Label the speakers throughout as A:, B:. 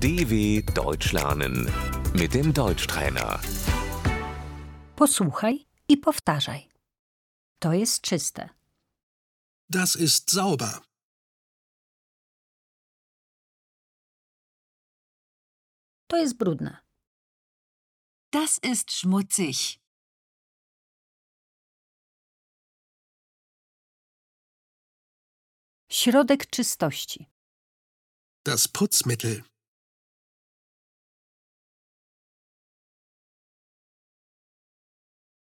A: DW Deutsch lernen mit dem Deutschtrainer.
B: Posłuchaj i powtarzaj. To jest czyste.
C: Das ist sauber.
B: To jest brudne.
D: Das ist schmutzig.
B: Środek czystości.
C: Das Putzmittel.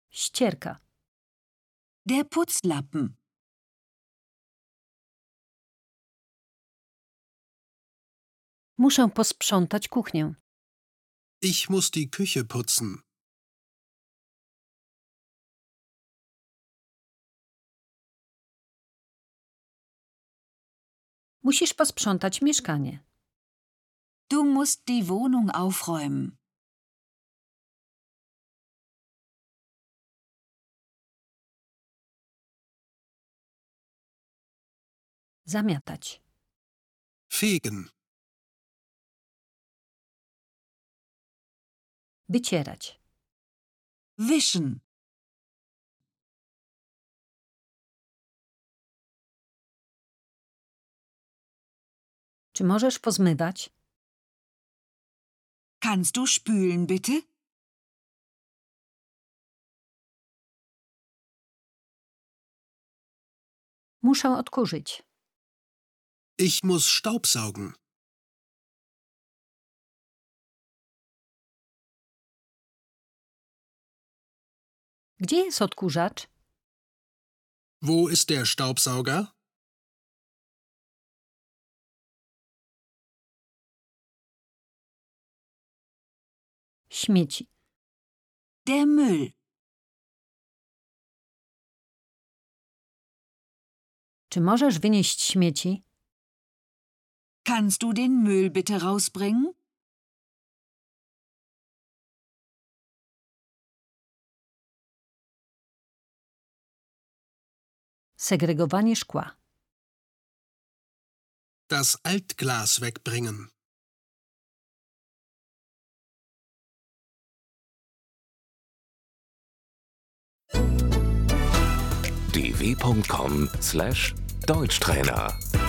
B: Ścierka.
D: Der Putzlappen.
B: Muszę posprzątać kuchnię.
C: Ich muss die Küche putzen.
B: Musisz posprzątać mieszkanie.
D: Du musst die Wohnung aufräumen.
B: Zamiatać.
C: Fegen.
B: Wycierać.
D: Wischen.
B: Czy możesz pozmywać?
D: Kannst du spülen bitte?
B: Muszę odkurzyć.
C: Ich muss Staubsaugen.
B: Gdzie jest odkurzacz?
C: Wo ist der Staubsauger?
B: Śmieci.
D: Der Müll.
B: Czy możesz wynieść śmieci?
D: Kannst du den Müll bitte rausbringen?
B: Segregowanie szkła.
C: Das Altglas wegbringen.
A: dw.com/deutschtrainer